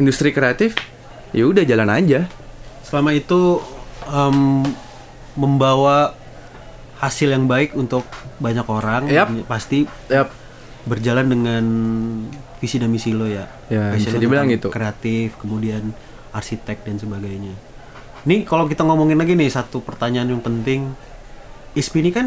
Speaker 3: industri kreatif ya udah jalan aja
Speaker 1: Selama itu em, membawa hasil yang baik untuk banyak orang,
Speaker 3: Yap.
Speaker 1: dan pasti
Speaker 3: Yap.
Speaker 1: berjalan dengan visi dan misi lo ya.
Speaker 3: Ya,
Speaker 1: Passion
Speaker 3: bisa
Speaker 1: lo
Speaker 3: dibilang
Speaker 1: tentang
Speaker 3: gitu.
Speaker 1: Kreatif, kemudian arsitek dan sebagainya. Nih kalau kita ngomongin lagi nih satu pertanyaan yang penting. ISPI ini kan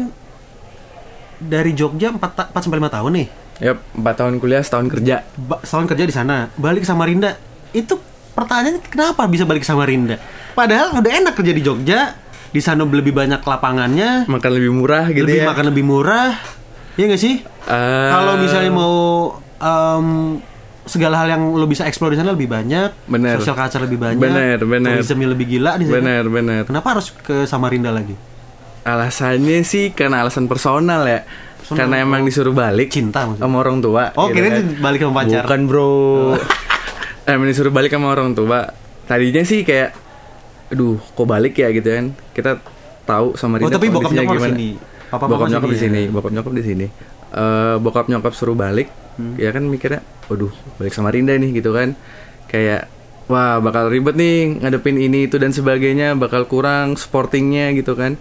Speaker 1: dari Jogja 4, 4 sampai 5 tahun nih.
Speaker 3: Yap, 4 tahun kuliah, setahun kerja.
Speaker 1: Ba- setahun kerja di sana, balik ke Samarinda. Itu pertanyaannya kenapa bisa balik ke Samarinda? Padahal udah enak kerja di Jogja, di sana lebih banyak lapangannya,
Speaker 3: Makan lebih murah gitu
Speaker 1: lebih
Speaker 3: ya.
Speaker 1: makan lebih murah. Iya nggak sih?
Speaker 3: Eh.
Speaker 1: Kalau misalnya mau em, segala hal yang lo bisa explore di sana lebih banyak,
Speaker 3: Bener.
Speaker 1: social culture lebih banyak,
Speaker 3: Bener, bener.
Speaker 1: tourismnya lebih gila di sana.
Speaker 3: Bener, bener.
Speaker 1: Kenapa harus ke Samarinda lagi?
Speaker 3: Alasannya sih karena alasan personal ya. Karena emang disuruh balik
Speaker 1: Cinta maksudnya.
Speaker 3: sama orang tua.
Speaker 1: Oh,
Speaker 3: gitu
Speaker 1: kirain balik sama pacar. Oh.
Speaker 3: Bukan, Bro. emang disuruh balik sama orang tua. Tadinya sih kayak aduh, kok balik ya gitu kan. Kita tahu sama
Speaker 1: Oh, tapi bokap nyokap di sini. Papa
Speaker 3: bokap
Speaker 1: mama
Speaker 3: nyokap di
Speaker 1: sini
Speaker 3: sini, bokap nyokap di sini. Eh, bokap nyokap suruh balik, ya kan mikirnya, waduh balik Samarinda nih gitu kan, kayak wah bakal ribet nih ngadepin ini itu dan sebagainya, bakal kurang sportingnya gitu kan.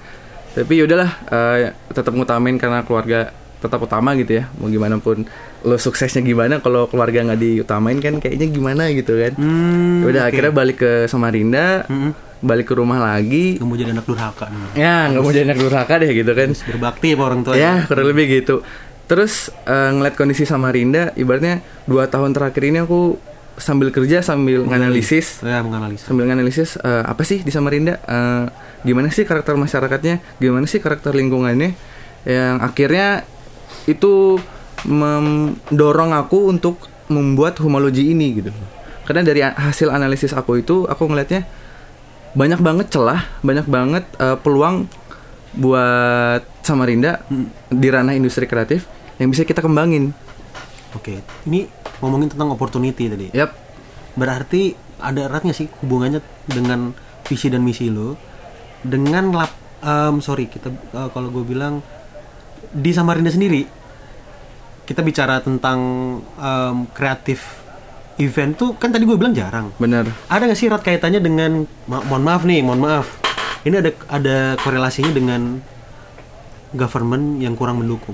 Speaker 3: Tapi yaudahlah, eh, tetap ngutamain karena keluarga tetap utama gitu ya, mau gimana pun lo suksesnya gimana, kalau keluarga nggak diutamain kan kayaknya gimana gitu kan.
Speaker 1: Hmm,
Speaker 3: Udah akhirnya balik ke Samarinda, balik ke rumah lagi.
Speaker 1: Nggak mau jadi anak durhaka nih. Eh,
Speaker 3: Ya nggak mau jadi anak durhaka deh gitu kan.
Speaker 1: Berbakti apa orang tua?
Speaker 3: Ya, kurang lebih gitu. Terus eh, ngeliat kondisi Samarinda, ibaratnya dua tahun terakhir ini aku sambil kerja sambil nganalisis,
Speaker 1: Saya menganalisa.
Speaker 3: sambil nganalisis eh, apa sih di Samarinda, Eh, gimana sih karakter masyarakatnya, gimana sih karakter lingkungannya, yang akhirnya itu mendorong aku untuk membuat homologi ini gitu. Karena dari a- hasil analisis aku itu, aku ngelihatnya banyak banget celah, banyak banget eh, peluang buat Samarinda di ranah industri kreatif yang bisa kita kembangin.
Speaker 1: Oke, ini ngomongin tentang opportunity tadi.
Speaker 3: Yap.
Speaker 1: Berarti ada eratnya sih hubungannya dengan visi dan misi lo dengan lap em, sorry kita eh, kalau gue bilang di Samarinda sendiri kita bicara tentang em, kreatif event tuh kan tadi gue bilang jarang.
Speaker 3: Bener.
Speaker 1: Ada nggak sih erat kaitannya dengan ma- mohon maaf nih, mohon maaf. Ini ada ada korelasinya dengan government yang kurang mendukung.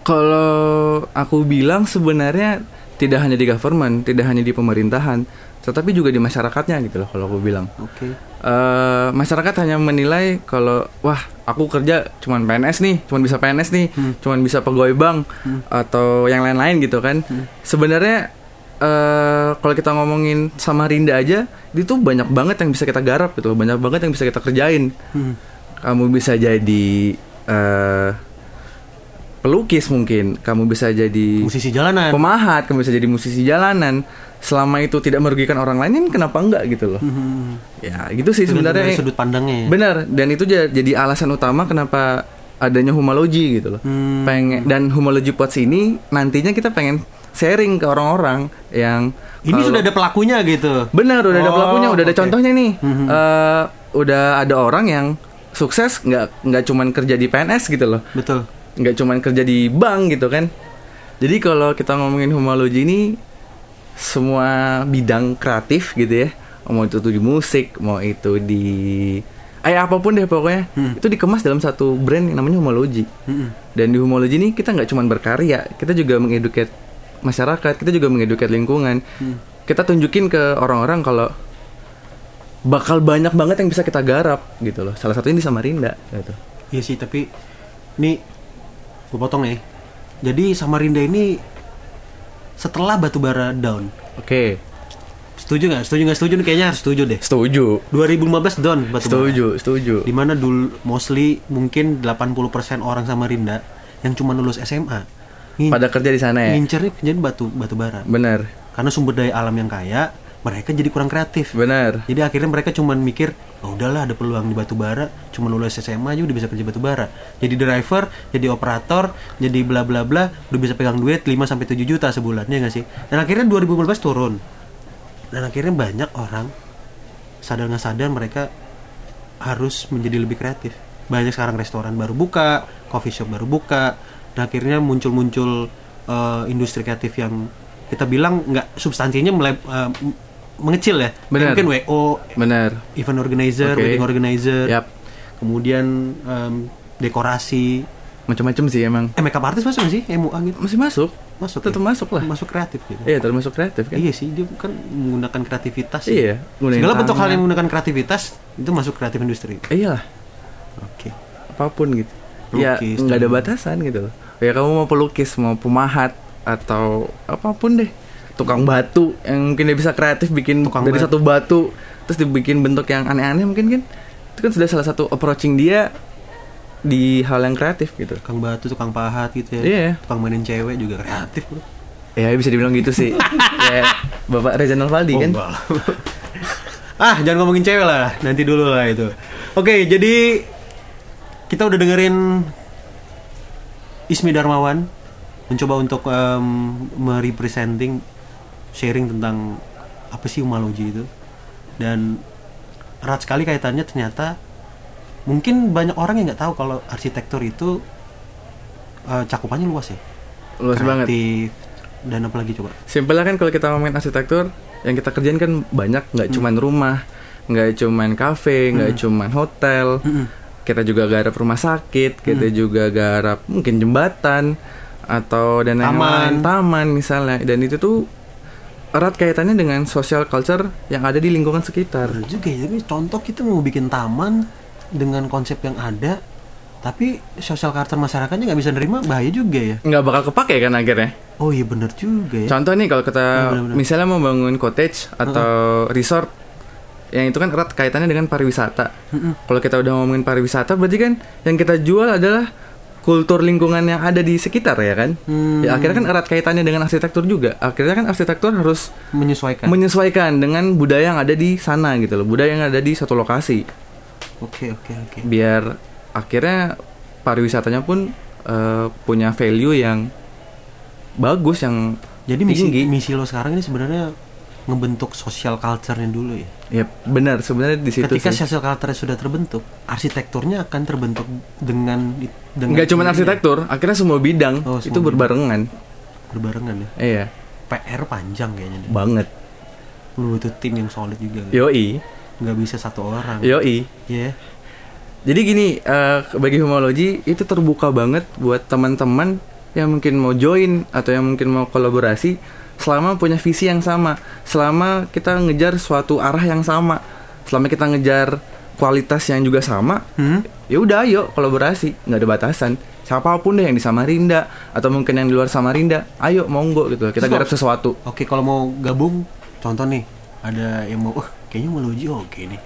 Speaker 3: Kalau aku bilang sebenarnya tidak hanya di government, tidak hanya di pemerintahan, tetapi juga di masyarakatnya gitu loh kalau aku bilang.
Speaker 1: Oke.
Speaker 3: Eh, masyarakat hanya menilai kalau wah aku kerja cuman PNS nih, cuman bisa PNS nih, cuman bisa pegawai bank atau yang lain-lain gitu kan. Sebenarnya eh kalau kita ngomongin Samarinda aja, itu banyak banget yang bisa kita garap gitu loh, banyak banget yang bisa kita kerjain.
Speaker 1: Hmm,
Speaker 3: Kamu bisa jadi eh, pelukis mungkin, kamu bisa jadi
Speaker 1: Musisi jalanan.
Speaker 3: pemahat, kamu bisa jadi musisi jalanan. Selama itu tidak merugikan orang lain, kenapa enggak gitu loh?
Speaker 1: Hmm.
Speaker 3: Ya gitu sih sebenarnya.
Speaker 1: Dari sudut pandangnya. ya.
Speaker 3: Benar, dan itu ja- jadi alasan utama kenapa adanya homologi gitu loh.
Speaker 1: Hmm.
Speaker 3: Pengen dan homologi pots ini nantinya kita pengen sharing ke orang-orang yang
Speaker 1: Ini
Speaker 3: kalau-
Speaker 1: sudah ada pelakunya gitu.
Speaker 3: Benar, udah ada
Speaker 1: Oh,
Speaker 3: pelakunya, udah ada
Speaker 1: oke. Hmm,
Speaker 3: contohnya nih. Eh, udah ada orang yang sukses nggak nggak cuman kerja di PNS gitu loh.
Speaker 1: Betul.
Speaker 3: Nggak cuman kerja di bank gitu kan. Jadi kalau kita ngomongin homologi ini semua bidang kreatif gitu ya. Mau itu tuh di musik, mau itu di eh apapun deh pokoknya. Itu dikemas dalam satu brand yang namanya homologi. Dan di homologi ini kita nggak cuman berkarya, kita juga mengeduket masyarakat, kita juga mengeduket lingkungan. Kita tunjukin ke orang-orang kalau bakal banyak banget yang bisa kita garap gitu loh. Salah satunya di Samarinda gitu.
Speaker 1: Iya sih, tapi ini gue potong nih. Jadi Samarinda ini setelah Batubara down.
Speaker 3: Oke,
Speaker 1: Setuju nggak? Setuju nggak? Setuju nih, kayaknya harus setuju deh.
Speaker 3: setuju.
Speaker 1: 2015 down Batubara.
Speaker 3: Setuju, setuju.
Speaker 1: Dimana dulu mostly mungkin 80% orang Samarinda yang cuma lulus SMA. Ngin-
Speaker 3: Pada kerja di sana ya.
Speaker 1: ngincernya kerjaan batu batubara.
Speaker 3: Benar.
Speaker 1: Karena sumber daya alam yang kaya, mereka jadi kurang kreatif.
Speaker 3: Benar.
Speaker 1: Jadi akhirnya mereka cuman mikir, oh udahlah ada peluang di batu bara, cuma lulus SMA aja udah bisa kerja batu bara. Jadi driver, jadi operator, jadi bla bla bla, udah bisa pegang duit 5 sampai 7 juta sebulan ya nggak sih? Dan akhirnya 2015 turun. Dan akhirnya banyak orang sadar nggak sadar mereka harus menjadi lebih kreatif. Banyak sekarang restoran baru buka, coffee shop baru buka, dan akhirnya muncul-muncul eh, industri kreatif yang kita bilang nggak substansinya mele- eh, m- mengecil ya.
Speaker 3: Benar.
Speaker 1: Mungkin WO,
Speaker 3: Benar.
Speaker 1: event organizer,
Speaker 3: Oke.
Speaker 1: wedding organizer,
Speaker 3: Yap.
Speaker 1: kemudian em, dekorasi,
Speaker 3: Macam-macam sih emang.
Speaker 1: eh makeup artist masuk nggak sih MUA gitu?
Speaker 3: Masih masuk.
Speaker 1: Masuk.
Speaker 3: Tetap
Speaker 1: ya?
Speaker 3: masuk lah.
Speaker 1: Masuk kreatif gitu.
Speaker 3: Iya, termasuk kreatif kan.
Speaker 1: Iya sih, dia kan menggunakan kreativitas.
Speaker 3: Iya, gunain
Speaker 1: Segala bentuk
Speaker 3: tangan.
Speaker 1: hal yang menggunakan kreativitas itu masuk kreatif industri.
Speaker 3: Iya lah,
Speaker 1: Oke.
Speaker 3: apapun gitu. Ya,
Speaker 1: Lukis,
Speaker 3: nggak ada
Speaker 1: dan-
Speaker 3: batasan gitu loh. Ya kamu mau pelukis, mau pemahat atau apapun deh. Tukang batu yang mungkin dia bisa kreatif bikin
Speaker 1: Tukang
Speaker 3: dari
Speaker 1: batu.
Speaker 3: satu batu terus dibikin bentuk yang aneh-aneh mungkin kan. Itu kan sudah salah satu approaching dia di hal yang kreatif gitu.
Speaker 1: Tukang batu, tukang pahat gitu ya.
Speaker 3: Iya.
Speaker 1: Tukang mainin cewek juga kreatif bro.
Speaker 3: Ya bisa dibilang gitu sih. ya, Bapak Reginald Valdi kan.
Speaker 1: Gombal. ah, jangan ngomongin cewek lah. Nanti dulu lah itu. Oke, jadi kita udah dengerin Ismi Darmawan mencoba untuk em, merepresenting sharing tentang apa sih umalogi itu dan erat sekali kaitannya ternyata mungkin banyak orang yang nggak tahu kalau arsitektur itu eh, cakupannya luas ya
Speaker 3: Luas banget.
Speaker 1: Kreatif, dan apalagi coba
Speaker 3: Simpelnya kan kalau kita ngomongin arsitektur, yang kita kerjain kan banyak, nggak cuman rumah, nggak cuman kafe, nggak cuman hotel. Kita juga garap rumah sakit, kita juga garap mungkin jembatan atau dan lain-lain
Speaker 1: Taman.
Speaker 3: taman misalnya. Dan itu tuh erat kaitannya dengan social culture yang ada di lingkungan sekitar.
Speaker 1: Bener juga ya, tapi contoh kita mau bikin taman dengan konsep yang ada, tapi sosial karakter masyarakatnya nggak bisa nerima, bahaya juga ya.
Speaker 3: Nggak bakal kepake kan akhirnya.
Speaker 1: Oh iya bener juga ya.
Speaker 3: Contoh nih kalau kita
Speaker 1: benar-benar.
Speaker 3: misalnya mau bangun cottage atau resort yang itu kan erat kaitannya dengan pariwisata. Kalau kita udah ngomongin pariwisata berarti kan yang kita jual adalah kultur lingkungan yang ada di sekitar ya kan.
Speaker 1: Hmm.
Speaker 3: Ya akhirnya kan erat kaitannya dengan arsitektur juga. Akhirnya kan arsitektur harus
Speaker 1: Menyesuaikan.
Speaker 3: menyesuaikan dengan budaya yang ada di sana gitu loh. Budaya yang ada di satu lokasi
Speaker 1: Oke oke oke.
Speaker 3: biar akhirnya pariwisatanya pun eh, punya value yang bagus yang
Speaker 1: Jadi misi
Speaker 3: tinggi.
Speaker 1: misi lo sekarang ini sebenarnya ngebentuk social culture-nya dulu ya.
Speaker 3: Ya benar sebenarnya di situ
Speaker 1: Ketika
Speaker 3: sih.
Speaker 1: social culture sudah terbentuk, arsitekturnya akan terbentuk dengan dengan ya.
Speaker 3: Nggak cuma arsitektur, akhirnya semua bidang
Speaker 1: Oh, semua
Speaker 3: itu
Speaker 1: bidang.
Speaker 3: berbarengan.
Speaker 1: berbarengan ya.
Speaker 3: Iya,
Speaker 1: PR panjang kayaknya. nih.
Speaker 3: banget.
Speaker 1: Lu butuh tim yang solid juga. kan?
Speaker 3: Yoi,
Speaker 1: Nggak bisa satu orang. Iya.
Speaker 3: yoi. Jadi gini, eh, bagi homologi itu terbuka banget buat teman-teman yang mungkin mau join atau yang mungkin mau kolaborasi selama punya visi yang sama, selama kita ngejar suatu arah yang sama, selama kita ngejar kualitas yang juga sama, ya udah ayo kolaborasi, nggak ada batasan. Siapapun deh yang di Samarinda atau mungkin yang di luar Samarinda, ayo monggo gitu.
Speaker 1: Terus
Speaker 3: Kita garap
Speaker 1: kalau-
Speaker 3: sesuatu.
Speaker 1: Oke, kalau mau gabung, contoh nih, ada yang mau, "Wah, kayaknya mau loji oke nih.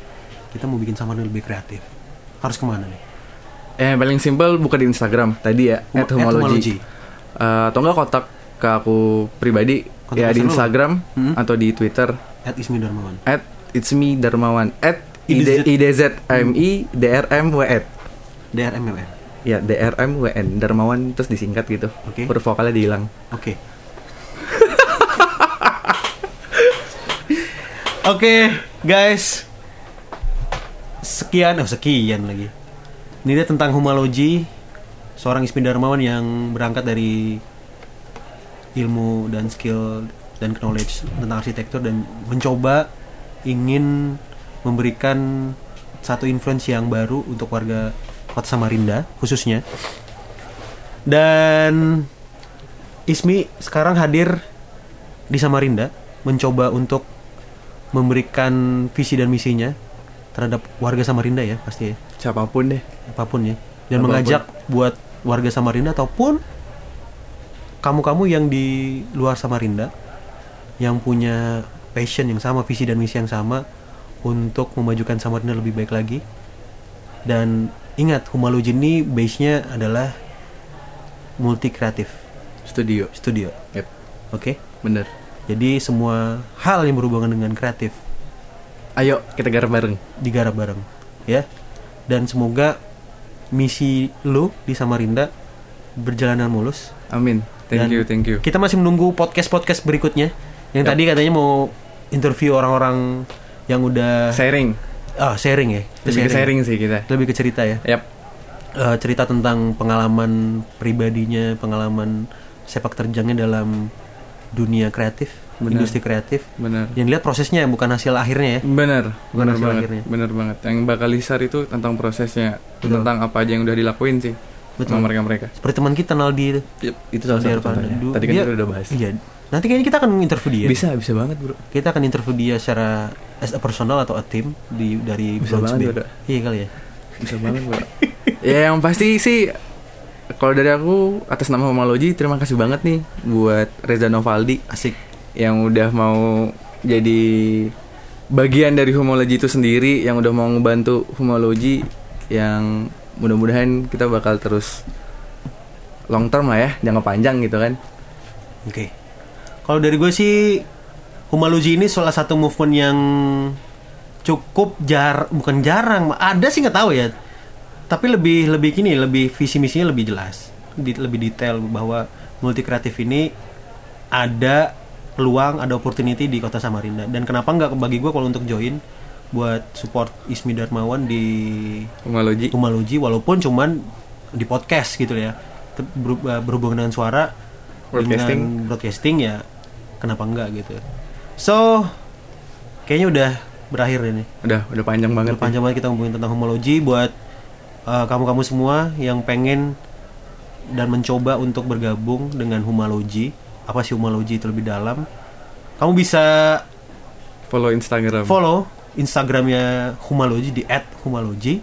Speaker 1: Kita mau bikin sama lebih kreatif. Harus kemana nih?
Speaker 3: Eh paling simple buka di Instagram tadi ya
Speaker 1: Hum-
Speaker 3: @homology.
Speaker 1: @homology.
Speaker 3: Eh, atau enggak kontak ke aku pribadi
Speaker 1: Kontak
Speaker 3: ya
Speaker 1: personal.
Speaker 3: di
Speaker 1: Hmm.
Speaker 3: Instagram atau di Twitter
Speaker 1: At Ismi Darmawan.
Speaker 3: @itsme_darmawan
Speaker 1: IDZ.
Speaker 3: @idzmidrmwn.
Speaker 1: DRMMN.
Speaker 3: Ya drmwn Darmawan terus disingkat gitu.
Speaker 1: Oke.
Speaker 3: Huruf vokalnya dihilang.
Speaker 1: Oke. Oke, guys. Sekian, oh sekian lagi. Ini dia tentang humalogi, seorang Ismi Darmawan yang berangkat dari ilmu dan skill dan knowledge tentang arsitektur dan mencoba ingin memberikan satu influence yang baru untuk warga Kota Samarinda khususnya. Dan Ismi sekarang hadir di Samarinda mencoba untuk memberikan visi dan misinya terhadap warga Samarinda ya pasti ya
Speaker 3: Siapapun deh.
Speaker 1: apapun ya dan mengajak buat warga Samarinda ataupun kamu-kamu yang di luar Samarinda yang punya passion yang sama, visi dan misi yang sama untuk memajukan Samarinda lebih baik lagi. Dan ingat, Humaloji ini base-nya adalah multi kreatif
Speaker 3: Studio.
Speaker 1: studio.
Speaker 3: Yep.
Speaker 1: Oke.
Speaker 3: Bener.
Speaker 1: Jadi semua hal yang berhubungan dengan kreatif
Speaker 3: Ayo kita garap bareng.
Speaker 1: digarap bareng, ya. Dan semoga misi lu di Samarinda berjalan dengan mulus.
Speaker 3: Amin. Thank
Speaker 1: Dan
Speaker 3: you, thank you.
Speaker 1: Kita masih menunggu podcast-podcast berikutnya. Yang tadi katanya mau interview orang-orang yang udah
Speaker 3: Sharing.
Speaker 1: ah, sharing ya.
Speaker 3: Lebih ke sharing sih kita.
Speaker 1: Lebih ke cerita ya.
Speaker 3: Yap.
Speaker 1: Eh, cerita tentang pengalaman pribadinya, pengalaman sepak terjangnya dalam dunia kreatif,
Speaker 3: Benar.
Speaker 1: industri kreatif.
Speaker 3: Benar.
Speaker 1: Yang lihat prosesnya bukan hasil akhirnya ya.
Speaker 3: Benar.
Speaker 1: Bukan
Speaker 3: Benar
Speaker 1: hasil
Speaker 3: banget.
Speaker 1: akhirnya.
Speaker 3: Benar banget. Yang bakal disar itu tentang prosesnya, tentang apa aja yang udah dilakuin sih.
Speaker 1: Betul.
Speaker 3: Sama mereka-mereka.
Speaker 1: Seperti teman kita Naldi
Speaker 3: Itu salah satu
Speaker 1: Nirvana.
Speaker 3: contohnya.
Speaker 1: Du-
Speaker 3: Tadi kan
Speaker 1: dia-
Speaker 3: kita udah bahas.
Speaker 1: Iya. Nanti kayaknya kita akan interview dia.
Speaker 3: Bisa, bisa banget, Bro.
Speaker 1: Kita akan interview dia secara as a personal atau a team di dari
Speaker 3: Bisa
Speaker 1: Browns
Speaker 3: banget,
Speaker 1: Bay.
Speaker 3: Dodo.
Speaker 1: Iya kali ya.
Speaker 3: Bisa banget, Bro. ya yang pasti sih kalau dari aku atas nama Homology terima kasih banget nih buat Reza Novaldi
Speaker 1: Asik.
Speaker 3: yang udah mau jadi bagian dari homologi itu sendiri yang udah mau ngebantu homologi yang mudah-mudahan kita bakal terus long term lah ya jangka panjang gitu kan
Speaker 1: Oke. Kalau dari gue sih Humaluji ini salah satu movement yang cukup jar bukan jarang ada sih nggak tahu ya tapi lebih lebih gini lebih visi misinya lebih jelas di- lebih detail bahwa multi kreatif ini ada peluang ada opportunity di kota Samarinda dan kenapa nggak bagi gue kalau untuk join buat support Ismi Darmawan di
Speaker 3: homologi
Speaker 1: Humaluji walaupun cuman di podcast gitu ya Ter- beru- eh, berhubungan dengan suara
Speaker 3: Broadcasting.
Speaker 1: dengan broadcasting ya kenapa enggak gitu so kayaknya udah berakhir ini
Speaker 3: udah udah panjang banget
Speaker 1: udah panjang banget kita ngomongin tentang homologi buat eh, kamu-kamu semua yang pengen dan mencoba untuk bergabung dengan humalogi apa sih humalogi itu lebih dalam kamu bisa
Speaker 3: follow instagram
Speaker 1: follow instagramnya humalogi di @humalogi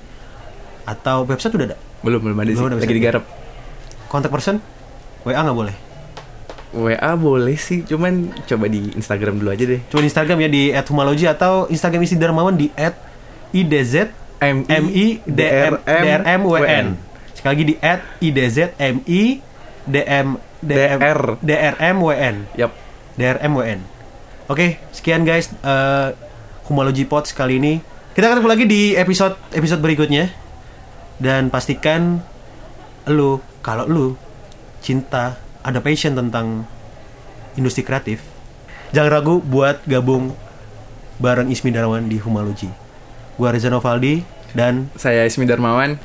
Speaker 1: atau website udah ada
Speaker 3: belum belum ada sih
Speaker 1: Belum ada
Speaker 3: lagi
Speaker 1: bisa.
Speaker 3: digarap
Speaker 1: kontak person WA nggak boleh
Speaker 3: wa boleh sih cuman coba di instagram dulu aja deh
Speaker 1: cuma di Instagram ya di @humalogi atau Instagram Isi Darmawan di @idz
Speaker 3: M I
Speaker 1: m i d m d r m w n sekali lagi di @idz m i d m d r
Speaker 3: DR.
Speaker 1: d r m w n
Speaker 3: yap
Speaker 1: d r m w n oke sekian guys eh, humalogi pod kali ini kita ketemu lagi di episode episode berikutnya dan pastikan lu kalau lu cinta ada passion tentang industri kreatif jangan ragu buat gabung bareng Ismi Darwan di Humalogi gua Reza Novaldi dan
Speaker 3: saya Ismi Darmawan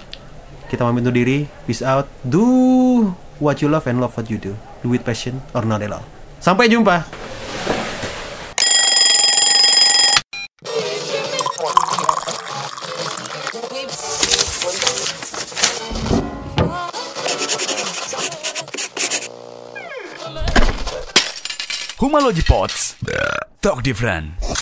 Speaker 1: kita pamit undur diri peace out do what you love and love what you do do with passion or not at all sampai jumpa
Speaker 2: Humalogy Pods. Talk different.